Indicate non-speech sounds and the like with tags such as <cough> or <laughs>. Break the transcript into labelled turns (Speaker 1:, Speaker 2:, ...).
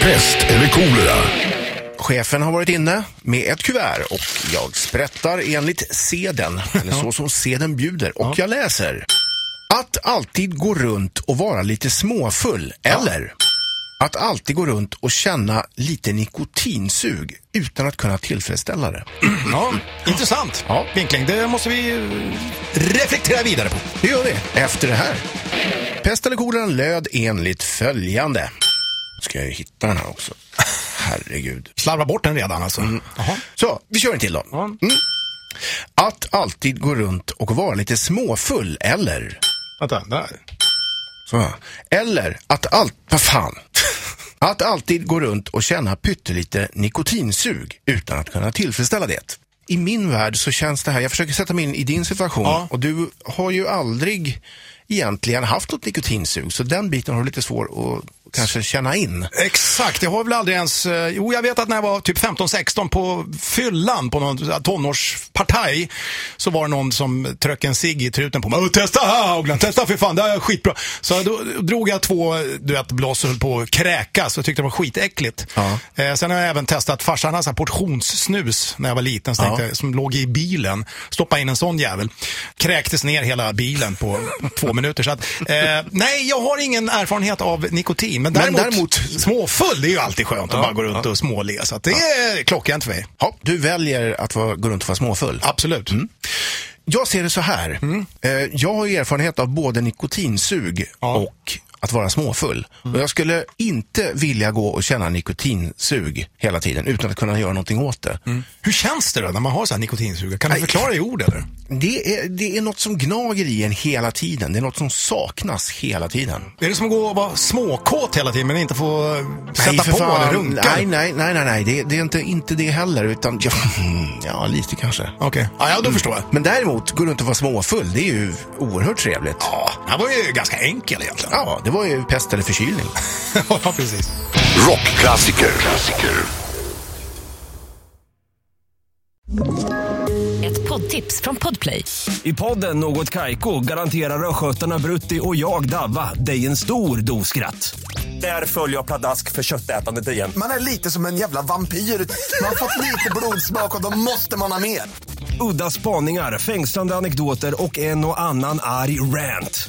Speaker 1: Pest eller kolera?
Speaker 2: Chefen har varit inne med ett kuvert och jag sprättar enligt seden, eller så som seden bjuder, och jag läser. Att alltid gå runt och vara lite småfull, eller att alltid gå runt och känna lite nikotinsug utan att kunna tillfredsställa det.
Speaker 3: Ja, intressant
Speaker 2: Ja.
Speaker 3: vinkling. Det måste vi eh, reflektera vidare på.
Speaker 2: Det gör vi efter det här. Pest eller kolera löd enligt följande. Ska jag ju hitta den här också. Herregud.
Speaker 3: Slarva bort den redan alltså.
Speaker 2: Mm.
Speaker 3: Jaha.
Speaker 2: Så, vi kör en till då. Mm. Att alltid gå runt och vara lite småfull, eller?
Speaker 3: Vänta, där.
Speaker 2: Så. Eller att allt... Vad fan? <laughs> Att alltid gå runt och känna pyttelite nikotinsug utan att kunna tillfredsställa det. I min värld så känns det här, jag försöker sätta mig in i din situation
Speaker 3: Ja.
Speaker 2: och du har ju aldrig egentligen haft något nikotinsug så den biten har du lite svår att kanske känna in.
Speaker 3: Exakt, jag har väl aldrig ens... eh, Jo, jag vet att när jag var typ 15-16 på fyllan på någon tonårspartaj så var det någon som tröck en cigg i truten på mig. "Åh, Testa här Haugland, testa för fan, det här är skitbra. Så då drog jag två, du vet, blås och höll på att kräkas och tyckte det var skitäckligt.
Speaker 2: Ja.
Speaker 3: Eh, sen har jag även testat farsan hade så här portionssnus när jag var liten, så tänkte
Speaker 2: Ja.
Speaker 3: jag, som låg i bilen. Stoppa in en sån jävel. Kräktes ner hela bilen på två minuter. Så att, eh, nej, jag har ingen erfarenhet av nikotin, men
Speaker 2: Men
Speaker 3: Däremot,
Speaker 2: däremot-
Speaker 3: småfull, det är ju alltid skönt att bara gå runt och småle. Så att det är klockrent för mig.
Speaker 2: Ja, du väljer att vara, gå runt och vara småfull.
Speaker 3: Absolut.
Speaker 2: Jag ser det så här.
Speaker 3: Mm.
Speaker 2: Eh, jag har ju erfarenhet av både nikotinsug
Speaker 3: Ja. Mm.
Speaker 2: och att vara småfull. Och jag skulle inte vilja gå och känna nikotinsug hela tiden utan att kunna göra någonting åt det.
Speaker 3: Hur känns det då när man har så här nikotinsugare? Kan du förklara i ord eller?
Speaker 2: Det, är, det är något som gnager i en hela tiden. Det är något som saknas hela tiden.
Speaker 3: Är det som att gå och vara småkåt hela tiden men inte få sätta
Speaker 2: för
Speaker 3: på
Speaker 2: fan.
Speaker 3: eller runka?
Speaker 2: Nej, nej, nej, nej, nej. Det, det är inte, inte det heller. Utan, ja, <laughs> ja, lite kanske.
Speaker 3: Okej, ja, ja, då förstår jag.
Speaker 2: Men däremot, gå runt och vara småfull, det är ju oerhört trevligt.
Speaker 3: Ja, det här var ju ganska enkel egentligen.
Speaker 2: Ja, det var ju pest eller förkylning.
Speaker 3: ja <laughs> precis.
Speaker 1: Rockklassiker. Klassiker.
Speaker 4: Ett poddtips från Podplay.
Speaker 5: I podden Något Kaiko garanterar östgötarna Brutti och jag, Davva, dig en stor dos skratt. Där följer jag pladask för köttätandet igen.
Speaker 6: Man är lite som en jävla vampyr. Man har fått lite blodsmak och då måste man ha mer.
Speaker 5: Udda spaningar, fängslande anekdoter och en och annan arg rant.